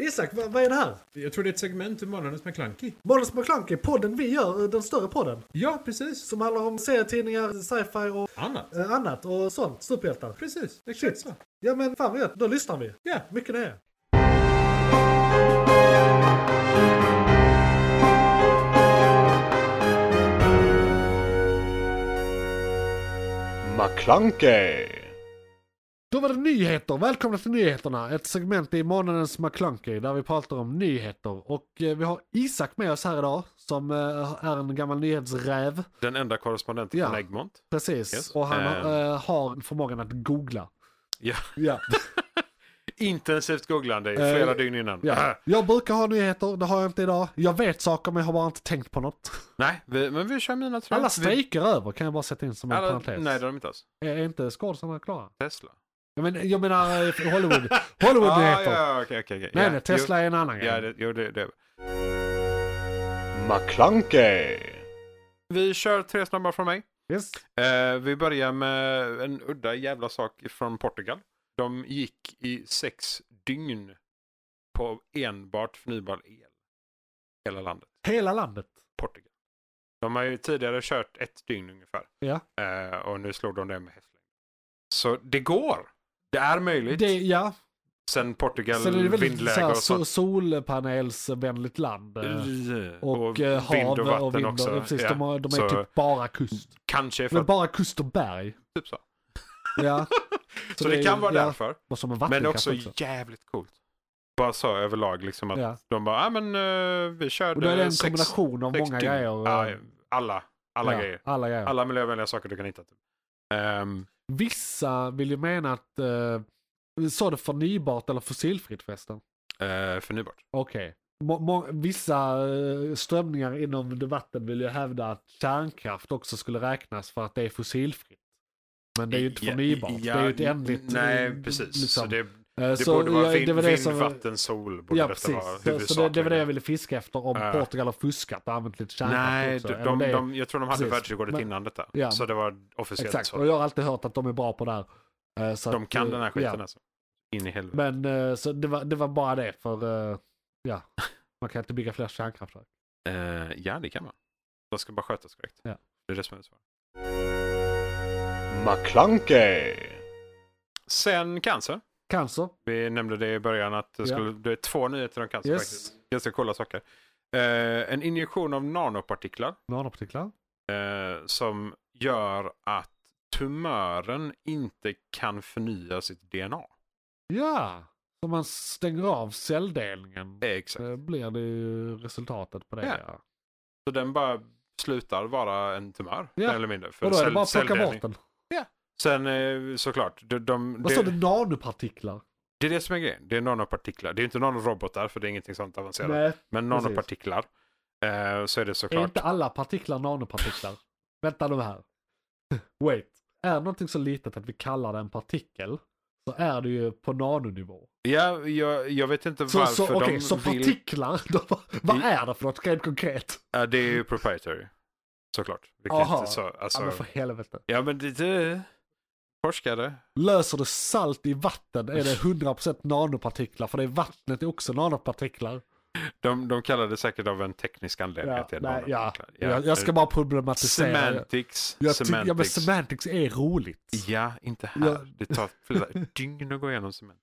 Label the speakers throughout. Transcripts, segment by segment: Speaker 1: Isak, vad, vad är det här?
Speaker 2: Jag tror det är ett segment ur Månadens McKlunky.
Speaker 1: Månadens McKlunky, podden vi gör, eh, den större podden.
Speaker 2: Ja, precis.
Speaker 1: Som handlar om serietidningar, sci-fi och
Speaker 2: Annat.
Speaker 1: eh, annat och sånt. Superhjältar.
Speaker 2: Precis, exakt så.
Speaker 1: Ja men fan vad gött, då lyssnar vi.
Speaker 2: Ja,
Speaker 1: Mycket det.
Speaker 3: McClunkey!
Speaker 1: Då var det nyheter. Välkomna till nyheterna. Ett segment i månadens McClunky där vi pratar om nyheter. Och eh, vi har Isak med oss här idag som eh, är en gammal nyhetsräv.
Speaker 3: Den enda korrespondenten
Speaker 1: Ja.
Speaker 3: från Egmont.
Speaker 1: Precis.
Speaker 3: Yes.
Speaker 1: Och han
Speaker 3: Eh.
Speaker 1: eh, har förmågan att googla.
Speaker 3: Ja.
Speaker 1: Ja.
Speaker 3: Intensivt googlande i flera
Speaker 1: Eh,
Speaker 3: dygn innan. Äh,
Speaker 1: ja. Jag brukar ha nyheter, det har jag inte idag. Jag vet saker men jag har bara inte tänkt på något.
Speaker 3: Nej, vi, men vi kör mina tror jag.
Speaker 1: Alla
Speaker 3: Vi-
Speaker 1: strejker är över kan jag bara sätta in som en
Speaker 3: Alla,
Speaker 1: parentes.
Speaker 3: nej, alltså, det har de inte alls.
Speaker 1: Är, är inte skådisarna klara?
Speaker 3: Tesla.
Speaker 1: Jag, men, jag menar eh, Hollywood. Hollywood-nyheter.
Speaker 3: Ah, ja, okej, okej. okej.
Speaker 1: Nej,
Speaker 3: Ja,
Speaker 1: nej, Tesla är en annan
Speaker 3: Jo, ja,
Speaker 1: grej.
Speaker 3: det, jo, det, det.
Speaker 4: McClunkey.
Speaker 3: Vi kör tre snabba från mig.
Speaker 1: Yes.
Speaker 3: Eh, vi börjar med en udda jävla sak från Portugal. De gick i sex dygn på enbart förnybar el. Hela landet.
Speaker 1: Hela landet.
Speaker 3: Portugal. De har ju tidigare kört ett dygn ungefär.
Speaker 1: Ja.
Speaker 3: Eh, och nu slog de det med hästlängd. Så det går. Det är möjligt.
Speaker 1: Det, ja,
Speaker 3: Sen Portugal,
Speaker 1: Sen är det väldigt så
Speaker 3: vindläge
Speaker 1: här,
Speaker 3: och
Speaker 1: so-
Speaker 3: sånt.
Speaker 1: solpanelsvänligt land. eh, Och, eh, hav
Speaker 3: vind och vatten
Speaker 1: och vind och-
Speaker 3: också.
Speaker 1: ja, Precis,
Speaker 3: Ja,
Speaker 1: de, har, de är
Speaker 3: så
Speaker 1: typ bara kust.
Speaker 3: Kanske för
Speaker 1: Men
Speaker 3: att,
Speaker 1: bara kust och berg.
Speaker 3: typ så.
Speaker 1: Ja.
Speaker 3: Så, det,
Speaker 1: är-
Speaker 3: kan vara
Speaker 1: ja,
Speaker 3: därför.
Speaker 1: Och som en
Speaker 3: Men
Speaker 1: vattenkraft
Speaker 3: också,
Speaker 1: också.
Speaker 3: jävligt coolt. Bara så överlag liksom att
Speaker 1: Ja.
Speaker 3: de bara, ja ah, men eh, vi körde
Speaker 1: Och då är det en
Speaker 3: sex-
Speaker 1: kombination av
Speaker 3: sex
Speaker 1: många
Speaker 3: dygn."
Speaker 1: grejer.
Speaker 3: Ja,
Speaker 1: eh,
Speaker 3: alla. Alla
Speaker 1: ja,
Speaker 3: grejer.
Speaker 1: Alla grejer.
Speaker 3: Alla miljövänliga saker du kan hitta. Typ. Ehm,
Speaker 1: Vissa vill ju mena att, eh, sa du förnybart eller fossilfritt förresten?
Speaker 3: eh, förnybart.
Speaker 1: Okej. Må- må- Vissa eh, strömningar inom debatten vill ju hävda att kärnkraft också skulle räknas för att det är fossilfritt. Men det är ju inte förnybart. det är ju ett ändligt...
Speaker 3: Nej,
Speaker 1: eh,
Speaker 3: precis.
Speaker 1: liksom.
Speaker 3: så det,
Speaker 1: Eh,
Speaker 3: det
Speaker 1: så
Speaker 3: borde vara
Speaker 1: jag-
Speaker 3: vind,
Speaker 1: det var det
Speaker 3: vind
Speaker 1: som-
Speaker 3: vatten, sol. Borde
Speaker 1: Ja,
Speaker 3: detta
Speaker 1: precis.
Speaker 3: vara
Speaker 1: Så, så det, det var det jag
Speaker 3: huvudsakligen. ville
Speaker 1: ville fiska efter om
Speaker 3: Ja.
Speaker 1: Portugal har fuskat och använt lite kärnkraft
Speaker 3: Nej,
Speaker 1: också.
Speaker 3: de,
Speaker 1: Eller
Speaker 3: de,
Speaker 1: det-
Speaker 3: de, jag tror de hade
Speaker 1: precis.
Speaker 3: världsrekordet
Speaker 1: Men-
Speaker 3: innan detta.
Speaker 1: Ja.
Speaker 3: Så det var officiellt
Speaker 1: Exakt, och
Speaker 3: så.
Speaker 1: jag har alltid hört att de är bra på det här. Eh, så
Speaker 3: De
Speaker 1: att,
Speaker 3: kan
Speaker 1: eh,
Speaker 3: den här skiten
Speaker 1: Ja.
Speaker 3: alltså. In i helvete.
Speaker 1: Men eh, så det, var, det var bara det för, eh, ja, man kan inte bygga fler kärnkraftverk.
Speaker 3: Eh, ja, det kan man. De ska bara skötas korrekt.
Speaker 1: Ja.
Speaker 3: Det är det som är svaret.
Speaker 4: McClunkey.
Speaker 3: Sen cancer.
Speaker 1: Cancer,
Speaker 3: Vi nämnde det i början att det,
Speaker 1: Ja.
Speaker 3: skulle, det är två nyheter om cancer
Speaker 1: yes,
Speaker 3: faktiskt. Ganska coola saker. Eh, en injektion av nanopartiklar
Speaker 1: nanopartiklar.
Speaker 3: eh, som gör att tumören inte kan förnya sitt DNA.
Speaker 1: Ja, så man stänger av celldelningen.
Speaker 3: Eh, Exakt.
Speaker 1: Så blir det ju resultatet på det.
Speaker 3: Ja.
Speaker 1: Ja.
Speaker 3: Så den bara slutar vara en tumör.
Speaker 1: Ja.
Speaker 3: mer Eller mindre. För
Speaker 1: Och då är det
Speaker 3: cell-
Speaker 1: bara att plocka
Speaker 3: celldelning.
Speaker 1: bort den.
Speaker 3: Sen eh, såklart, de, de,
Speaker 1: Vad står
Speaker 3: det,
Speaker 1: det? Nanopartiklar?
Speaker 3: det är det som är grejen. Det är nanopartiklar. Det är inte nanorobotar för det är ingenting sånt avancerat.
Speaker 1: Nej,
Speaker 3: Men
Speaker 1: precis.
Speaker 3: nanopartiklar. Eh, så är det
Speaker 1: är
Speaker 3: såklart.
Speaker 1: inte alla partiklar nanopartiklar? Vänta nu här. Wait. Är någonting så litet att vi kallar det en partikel så är det ju på nanonivå.
Speaker 3: Ja, jag, jag vet inte
Speaker 1: Så,
Speaker 3: varför
Speaker 1: så,
Speaker 3: de
Speaker 1: okej, så
Speaker 3: vill...
Speaker 1: partiklar, de, vad är det för något rent konkret?
Speaker 3: Ja, det är ju proprietary. Såklart. Vilket
Speaker 1: Aha.
Speaker 3: inte så, alltså...
Speaker 1: Ja, men för helvete.
Speaker 3: Ja, men det, det... Forskare.
Speaker 1: Löser du salt i vatten är det 100% nanopartiklar för det är vattnet är också nanopartiklar.
Speaker 3: De, de kallar det säkert av en teknisk anledning.
Speaker 1: Ja,
Speaker 3: att det är
Speaker 1: nej, ja.
Speaker 3: nanopartiklar. eh,
Speaker 1: Jag, jag ska bara problematisera.
Speaker 3: Semantics.
Speaker 1: jag, ty-
Speaker 3: semantics.
Speaker 1: Ja men semantics är roligt.
Speaker 3: Ja, inte här.
Speaker 1: Ja.
Speaker 3: Det tar flera dygn att gå igenom semantics.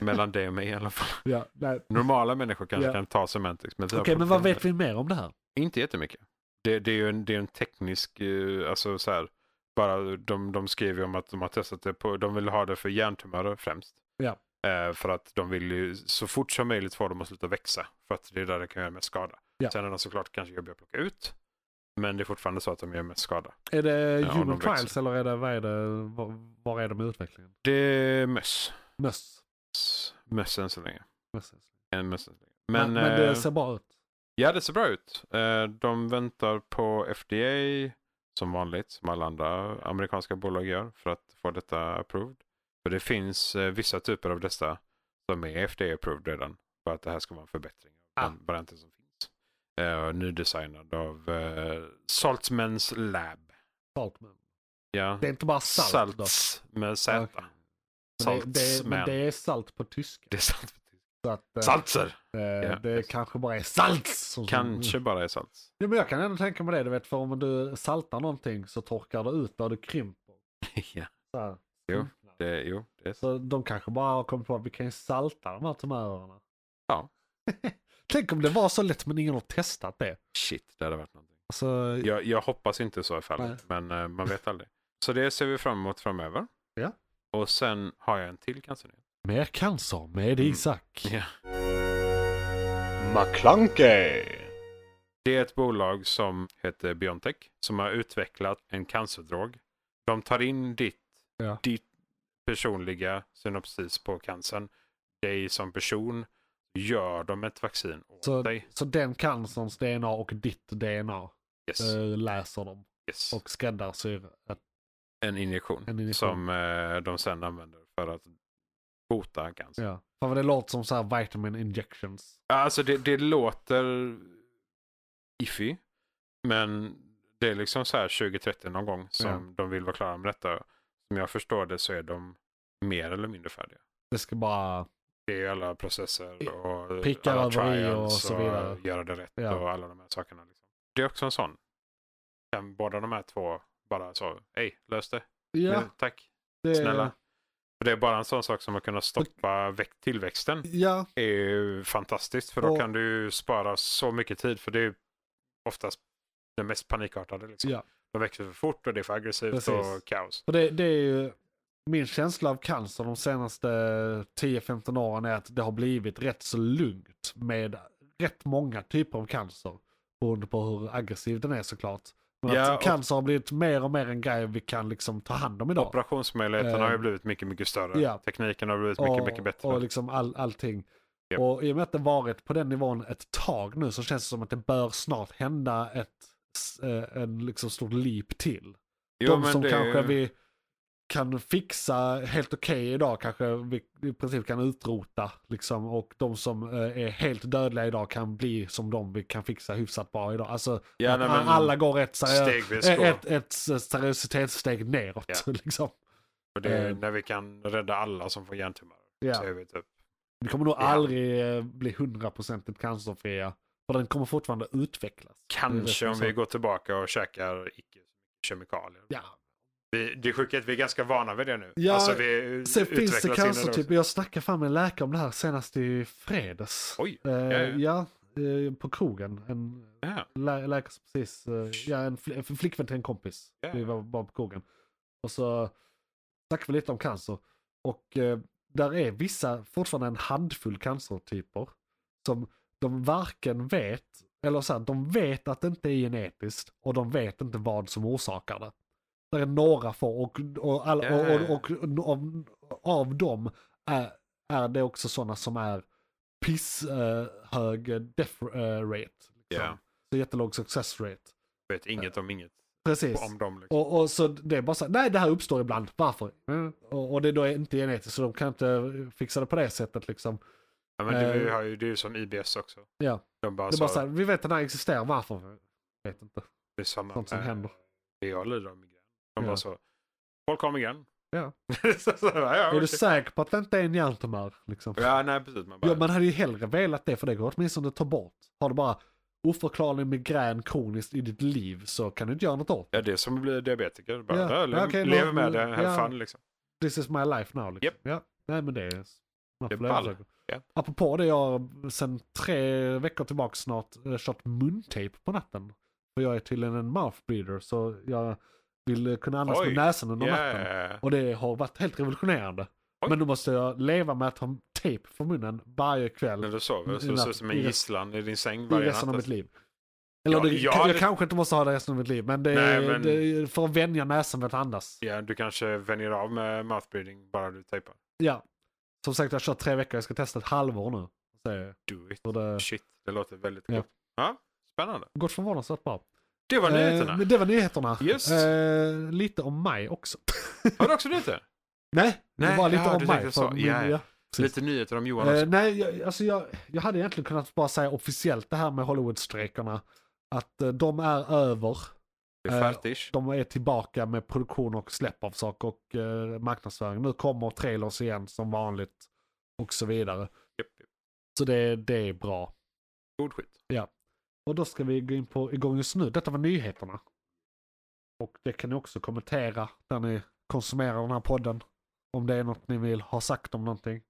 Speaker 3: Mellan dig och mig i alla fall.
Speaker 1: Ja, nej.
Speaker 3: Normala människor kanske
Speaker 1: Ja.
Speaker 3: kan ta semantics. Men vi
Speaker 1: Okej
Speaker 3: har
Speaker 1: men vad
Speaker 3: fortfarande-
Speaker 1: vet vi mer om det här?
Speaker 3: Inte jättemycket. Det, det är ju en, det är en teknisk, eh, alltså så här, bara de, de skriver ju om att de har testat det på, de vill ha det för hjärntumörer främst.
Speaker 1: Ja.
Speaker 3: Eh, för att de vill ju så fort som möjligt få dem att sluta växa. För att det är där det kan göra mest skada.
Speaker 1: Ja.
Speaker 3: Sen är de såklart kanske jobbiga att plocka ut. Men det är fortfarande så att de gör mest skada.
Speaker 1: Är det
Speaker 3: Ja,
Speaker 1: human
Speaker 3: de växer.
Speaker 1: trials eller är det, vad är det, var, var är de i utvecklingen?
Speaker 3: Det är möss.
Speaker 1: Möss.
Speaker 3: Möss än så länge.
Speaker 1: Möss.
Speaker 3: En möss än så länge.
Speaker 1: Men,
Speaker 3: Men,
Speaker 1: men det
Speaker 3: eh,
Speaker 1: ser bra ut.
Speaker 3: Ja, det ser bra ut. Eh, De väntar på FDA som vanligt, som alla andra amerikanska bolag gör för att få detta approved. För det finns eh, vissa typer av dessa som är FDA approved redan för att det här ska vara en förbättring av
Speaker 1: Ah.
Speaker 3: den varianten som finns. Eh, och Nydesignad av eh, Saltzmans Lab.
Speaker 1: Salt, men.
Speaker 3: Ja.
Speaker 1: Det är inte bara salt då.
Speaker 3: Salts med Z.
Speaker 1: Okej. Men Det, det, men
Speaker 3: Saltzman.
Speaker 1: det är salt på tyska.
Speaker 3: Det är sant.
Speaker 1: Så att eh,
Speaker 3: Saltser!
Speaker 1: eh, det
Speaker 3: yes.
Speaker 1: kanske bara är salt. som-
Speaker 3: Kanske bara är salt.
Speaker 1: Jo, men jag kan ändå tänka mig det, du vet, för om du saltar någonting så torkar det ut och det krymper.
Speaker 3: ja.
Speaker 1: Så, här.
Speaker 3: Jo, det, jo, det är så.
Speaker 1: så de kanske bara har kommit på att vi kan ju salta de här tumörerna.
Speaker 3: Ja.
Speaker 1: Tänk om det var så lätt men ingen har testat det.
Speaker 3: Shit, det hade varit någonting.
Speaker 1: Alltså,
Speaker 3: Jag, jag hoppas inte så är fallet, men eh, man vet aldrig. Så det ser vi fram emot framöver.
Speaker 1: Ja.
Speaker 3: Och sen har jag en till cancernyhet.
Speaker 1: mer cancer med
Speaker 3: Mm.
Speaker 1: Isak.
Speaker 3: Ja.
Speaker 4: McClunkey.
Speaker 3: Det är ett bolag som heter Biontech som har utvecklat en cancerdrog. De tar in ditt,
Speaker 1: Ja.
Speaker 3: ditt personliga synopsis på cancern. Dig som person gör de ett vaccin åt
Speaker 1: Så,
Speaker 3: dig.
Speaker 1: så den cancerns DNA och ditt DNA
Speaker 3: Yes.
Speaker 1: eh, läser de
Speaker 3: yes.
Speaker 1: och skräddarsyr ett
Speaker 3: en, injektion
Speaker 1: en injektion.
Speaker 3: som eh, de sen använder för att bota cancer.
Speaker 1: Ja. Fan vad det låter som så här vitamin injections.
Speaker 3: Alltså det, det låter iffy. Men det är liksom så här 2030 någon gång som de vill vara klara med detta. Som jag förstår det så är de mer eller mindre färdiga.
Speaker 1: Det ska bara...
Speaker 3: Det är ju alla processer och
Speaker 1: Prickar
Speaker 3: alla
Speaker 1: över i och
Speaker 3: trials
Speaker 1: så vidare.
Speaker 3: göra det rätt
Speaker 1: Ja.
Speaker 3: och alla de här sakerna. Liksom. Det är också en sån. Kan båda de här två bara så, hej, lös det.
Speaker 1: Ja,
Speaker 3: Nu, tack,
Speaker 1: det...
Speaker 3: snälla. För det är bara en sån sak som att kunna stoppa väck- tillväxten
Speaker 1: Ja,
Speaker 3: är ju fantastiskt för då
Speaker 1: Och-
Speaker 3: kan du ju spara så mycket tid för det är ju oftast det mest panikartade. Liksom.
Speaker 1: Ja.
Speaker 3: De växer för fort och det är för aggressivt
Speaker 1: Precis.
Speaker 3: och kaos.
Speaker 1: För det, det är ju min känsla av cancer de senaste 10-15 åren är att det har blivit rätt så lugnt med rätt många typer av cancer. Beroende på hur aggressiv den är såklart. Men
Speaker 3: Ja,
Speaker 1: att
Speaker 3: och-
Speaker 1: cancer har blivit mer och mer en grej vi kan liksom ta hand om idag.
Speaker 3: Operationsmöjligheterna har ju
Speaker 1: Eh,
Speaker 3: blivit mycket, mycket större.
Speaker 1: ja.
Speaker 3: Tekniken har blivit mycket,
Speaker 1: och,
Speaker 3: mycket bättre.
Speaker 1: Och liksom all, allting.
Speaker 3: Japp.
Speaker 1: Och i och med att det varit på den nivån ett tag nu så känns det som att det bör snart hända ett s- eh, en liksom stort leap till.
Speaker 3: Jo,
Speaker 1: de
Speaker 3: men
Speaker 1: som
Speaker 3: det är
Speaker 1: kanske
Speaker 3: ju-
Speaker 1: vi kan fixa helt okej idag kanske vi i princip kan utrota. Liksom, och de som eh, är helt dödliga idag kan bli som de vi kan fixa hyfsat bra idag. Alltså
Speaker 3: Ja,
Speaker 1: att
Speaker 3: nej, men
Speaker 1: alla går ett, seriö-
Speaker 3: Stegvis går.
Speaker 1: ett, ett seriositetssteg neråt.
Speaker 3: Ja.
Speaker 1: Liksom.
Speaker 3: och det är
Speaker 1: eh,
Speaker 3: när vi kan rädda alla som får hjärntumörer.
Speaker 1: Ja.
Speaker 3: Så är vi typ.
Speaker 1: Vi kommer nog
Speaker 3: Ja.
Speaker 1: aldrig eh, bli hundraprocentigt cancerfria. För den kommer fortfarande utvecklas.
Speaker 3: Kanske
Speaker 1: Det är
Speaker 3: om
Speaker 1: som
Speaker 3: vi
Speaker 1: så.
Speaker 3: går tillbaka och käkar icke kemikalier.
Speaker 1: Ja.
Speaker 3: Vi, det är sjukt att vi är ganska vana vid det nu.
Speaker 1: Ja,
Speaker 3: alltså, vi
Speaker 1: Sen finns det typ-
Speaker 3: utvecklas in i också.
Speaker 1: cancertyper, jag snackade fan med en läkare om det här senast i fredags.
Speaker 3: Oj,
Speaker 1: Eh,
Speaker 3: ja, ja.
Speaker 1: ja, eh, på krogen. En
Speaker 3: Ja.
Speaker 1: lä- läkare som precis, eh, ja en, fl- en flickvän till en kompis.
Speaker 3: Ja.
Speaker 1: Vi var bara på krogen. Och så snackade vi lite om cancer. Och eh, där är vissa, fortfarande en handfull cancertyper. Som de varken vet, eller så här, de vet att det inte är genetiskt. Och de vet inte vad som orsakar det. Där är några få och, och, all,
Speaker 3: Ja, ja, ja.
Speaker 1: och, och, och av, av dem är, är det också sådana som är pisshög death eh, rate. Liksom.
Speaker 3: Ja.
Speaker 1: Så jättelåg success rate.
Speaker 3: vet inget om inget.
Speaker 1: Precis.
Speaker 3: Om dem liksom.
Speaker 1: Och, och så det är bara så här, nej det här uppstår ibland, varför?
Speaker 3: Mm.
Speaker 1: Och, och det då är inte genetiskt så de kan inte fixa det på det sättet liksom.
Speaker 3: Ja, men det, är ju-
Speaker 1: Eh,
Speaker 3: har ju, det är ju som IBS också.
Speaker 1: Ja.
Speaker 3: De bara,
Speaker 1: Det är bara
Speaker 3: sa,
Speaker 1: så här, vi vet att den här existerar, varför? Jag vet inte.
Speaker 3: det är samma
Speaker 1: sånt som
Speaker 3: med
Speaker 1: händer.
Speaker 3: Det jag lider av migrän. De
Speaker 1: Ja.
Speaker 3: bara så, folk har migrän.
Speaker 1: Ja.
Speaker 3: så, så, ja,
Speaker 1: Är du
Speaker 3: okej.
Speaker 1: säker på att det inte är en hjärntumör? Liksom?
Speaker 3: ja, nej precis. Man bara,
Speaker 1: Ja, man hade ju hellre velat det för det går åtminstone att ta bort. Har du bara oförklarlig migrän kroniskt i ditt liv så kan du inte göra något åt det.
Speaker 3: ja, det är som att bli diabetiker. Bara,
Speaker 1: Ja,
Speaker 3: ja, lev,
Speaker 1: okej,
Speaker 3: lev
Speaker 1: låt-
Speaker 3: med det, have
Speaker 1: ja.
Speaker 3: fun liksom.
Speaker 1: This is my life now. Liksom.
Speaker 3: Japp.
Speaker 1: Ja. Nej men det är... Man
Speaker 3: Det är
Speaker 1: får lösa
Speaker 3: ball.
Speaker 1: det.
Speaker 3: Ja.
Speaker 1: Apropå det, jag har sen tre veckor tillbaka snart eh, kört muntejp på natten. För jag är tydligen en mouth breather så jag vill eh, kunna andas
Speaker 3: Oj.
Speaker 1: med näsan under natten.
Speaker 3: Yeah.
Speaker 1: Och det har varit helt revolutionerande.
Speaker 3: Oj.
Speaker 1: Men då måste jag leva med att ha tejp för munnen varje kväll.
Speaker 3: När du sover så
Speaker 1: I
Speaker 3: du ser
Speaker 1: natt-
Speaker 3: ut som
Speaker 1: i
Speaker 3: en
Speaker 1: rest-
Speaker 3: gisslan i din säng
Speaker 1: i
Speaker 3: varje
Speaker 1: resten
Speaker 3: natt.
Speaker 1: av mitt
Speaker 3: alltså.
Speaker 1: liv. Eller
Speaker 3: Ja,
Speaker 1: det,
Speaker 3: jag
Speaker 1: jag,
Speaker 3: hade-
Speaker 1: kanske inte måste ha det resten av mitt liv, men det,
Speaker 3: Nej, men-
Speaker 1: det för att vänja näsan vid att andas.
Speaker 3: Ja, du kanske vänjer av med mouth breathing bara du tejpar.
Speaker 1: Ja. Som sagt, jag har kört tre veckor, jag ska testa ett halvår nu. Så,
Speaker 3: Do it.
Speaker 1: så det
Speaker 3: Shit, det låter väldigt
Speaker 1: Ja.
Speaker 3: gott. Ja, spännande.
Speaker 1: gått förvånansvärt bra.
Speaker 3: Det var nyheterna.
Speaker 1: Eh, men det var nyheterna.
Speaker 3: Just.
Speaker 1: Eh, lite om mig också.
Speaker 3: Har du också nyheter?
Speaker 1: nej, det
Speaker 3: Nej,
Speaker 1: var lite
Speaker 3: ja,
Speaker 1: om
Speaker 3: du
Speaker 1: mig.
Speaker 3: tänkte
Speaker 1: för
Speaker 3: så.
Speaker 1: min-
Speaker 3: Ja, ja.
Speaker 1: precis.
Speaker 3: Lite nyheter om Johan också.
Speaker 1: Eh, nej, jag, alltså jag, jag hade egentligen kunnat bara säga officiellt det här med Hollywoodstrejkerna. Att eh, de är över.
Speaker 3: Det är
Speaker 1: eh,
Speaker 3: färdigt.
Speaker 1: De är tillbaka med produktion och släpp av saker och eh, marknadsföring. Nu kommer trailers igen som vanligt och så vidare.
Speaker 3: Japp, japp.
Speaker 1: Så det, det är bra.
Speaker 3: God skit.
Speaker 1: Och då ska vi gå in på igång just nu. Detta var nyheterna. Och det kan ni också kommentera där ni konsumerar den här podden. Om det är något ni vill ha sagt om någonting.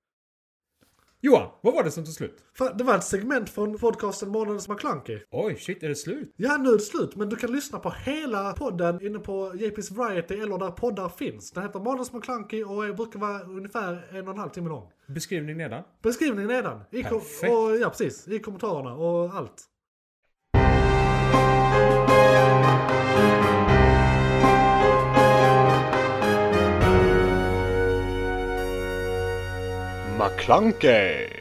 Speaker 2: Johan, vad var det som tog slut?
Speaker 1: Det var ett segment från podcasten Månadens McKlunky.
Speaker 2: Oj, shit, är det slut?
Speaker 1: Ja, nu är det slut, men du kan lyssna på hela podden inne på JP's Variety eller där poddar finns. Den heter Månadens McKlunky och är- brukar vara ungefär en och en halv timme lång.
Speaker 2: Beskrivning nedan.
Speaker 1: Beskrivningen nedan. I kom-
Speaker 2: Perfekt.
Speaker 1: och, ja, precis. I kommentarerna och allt.
Speaker 4: McClunkey.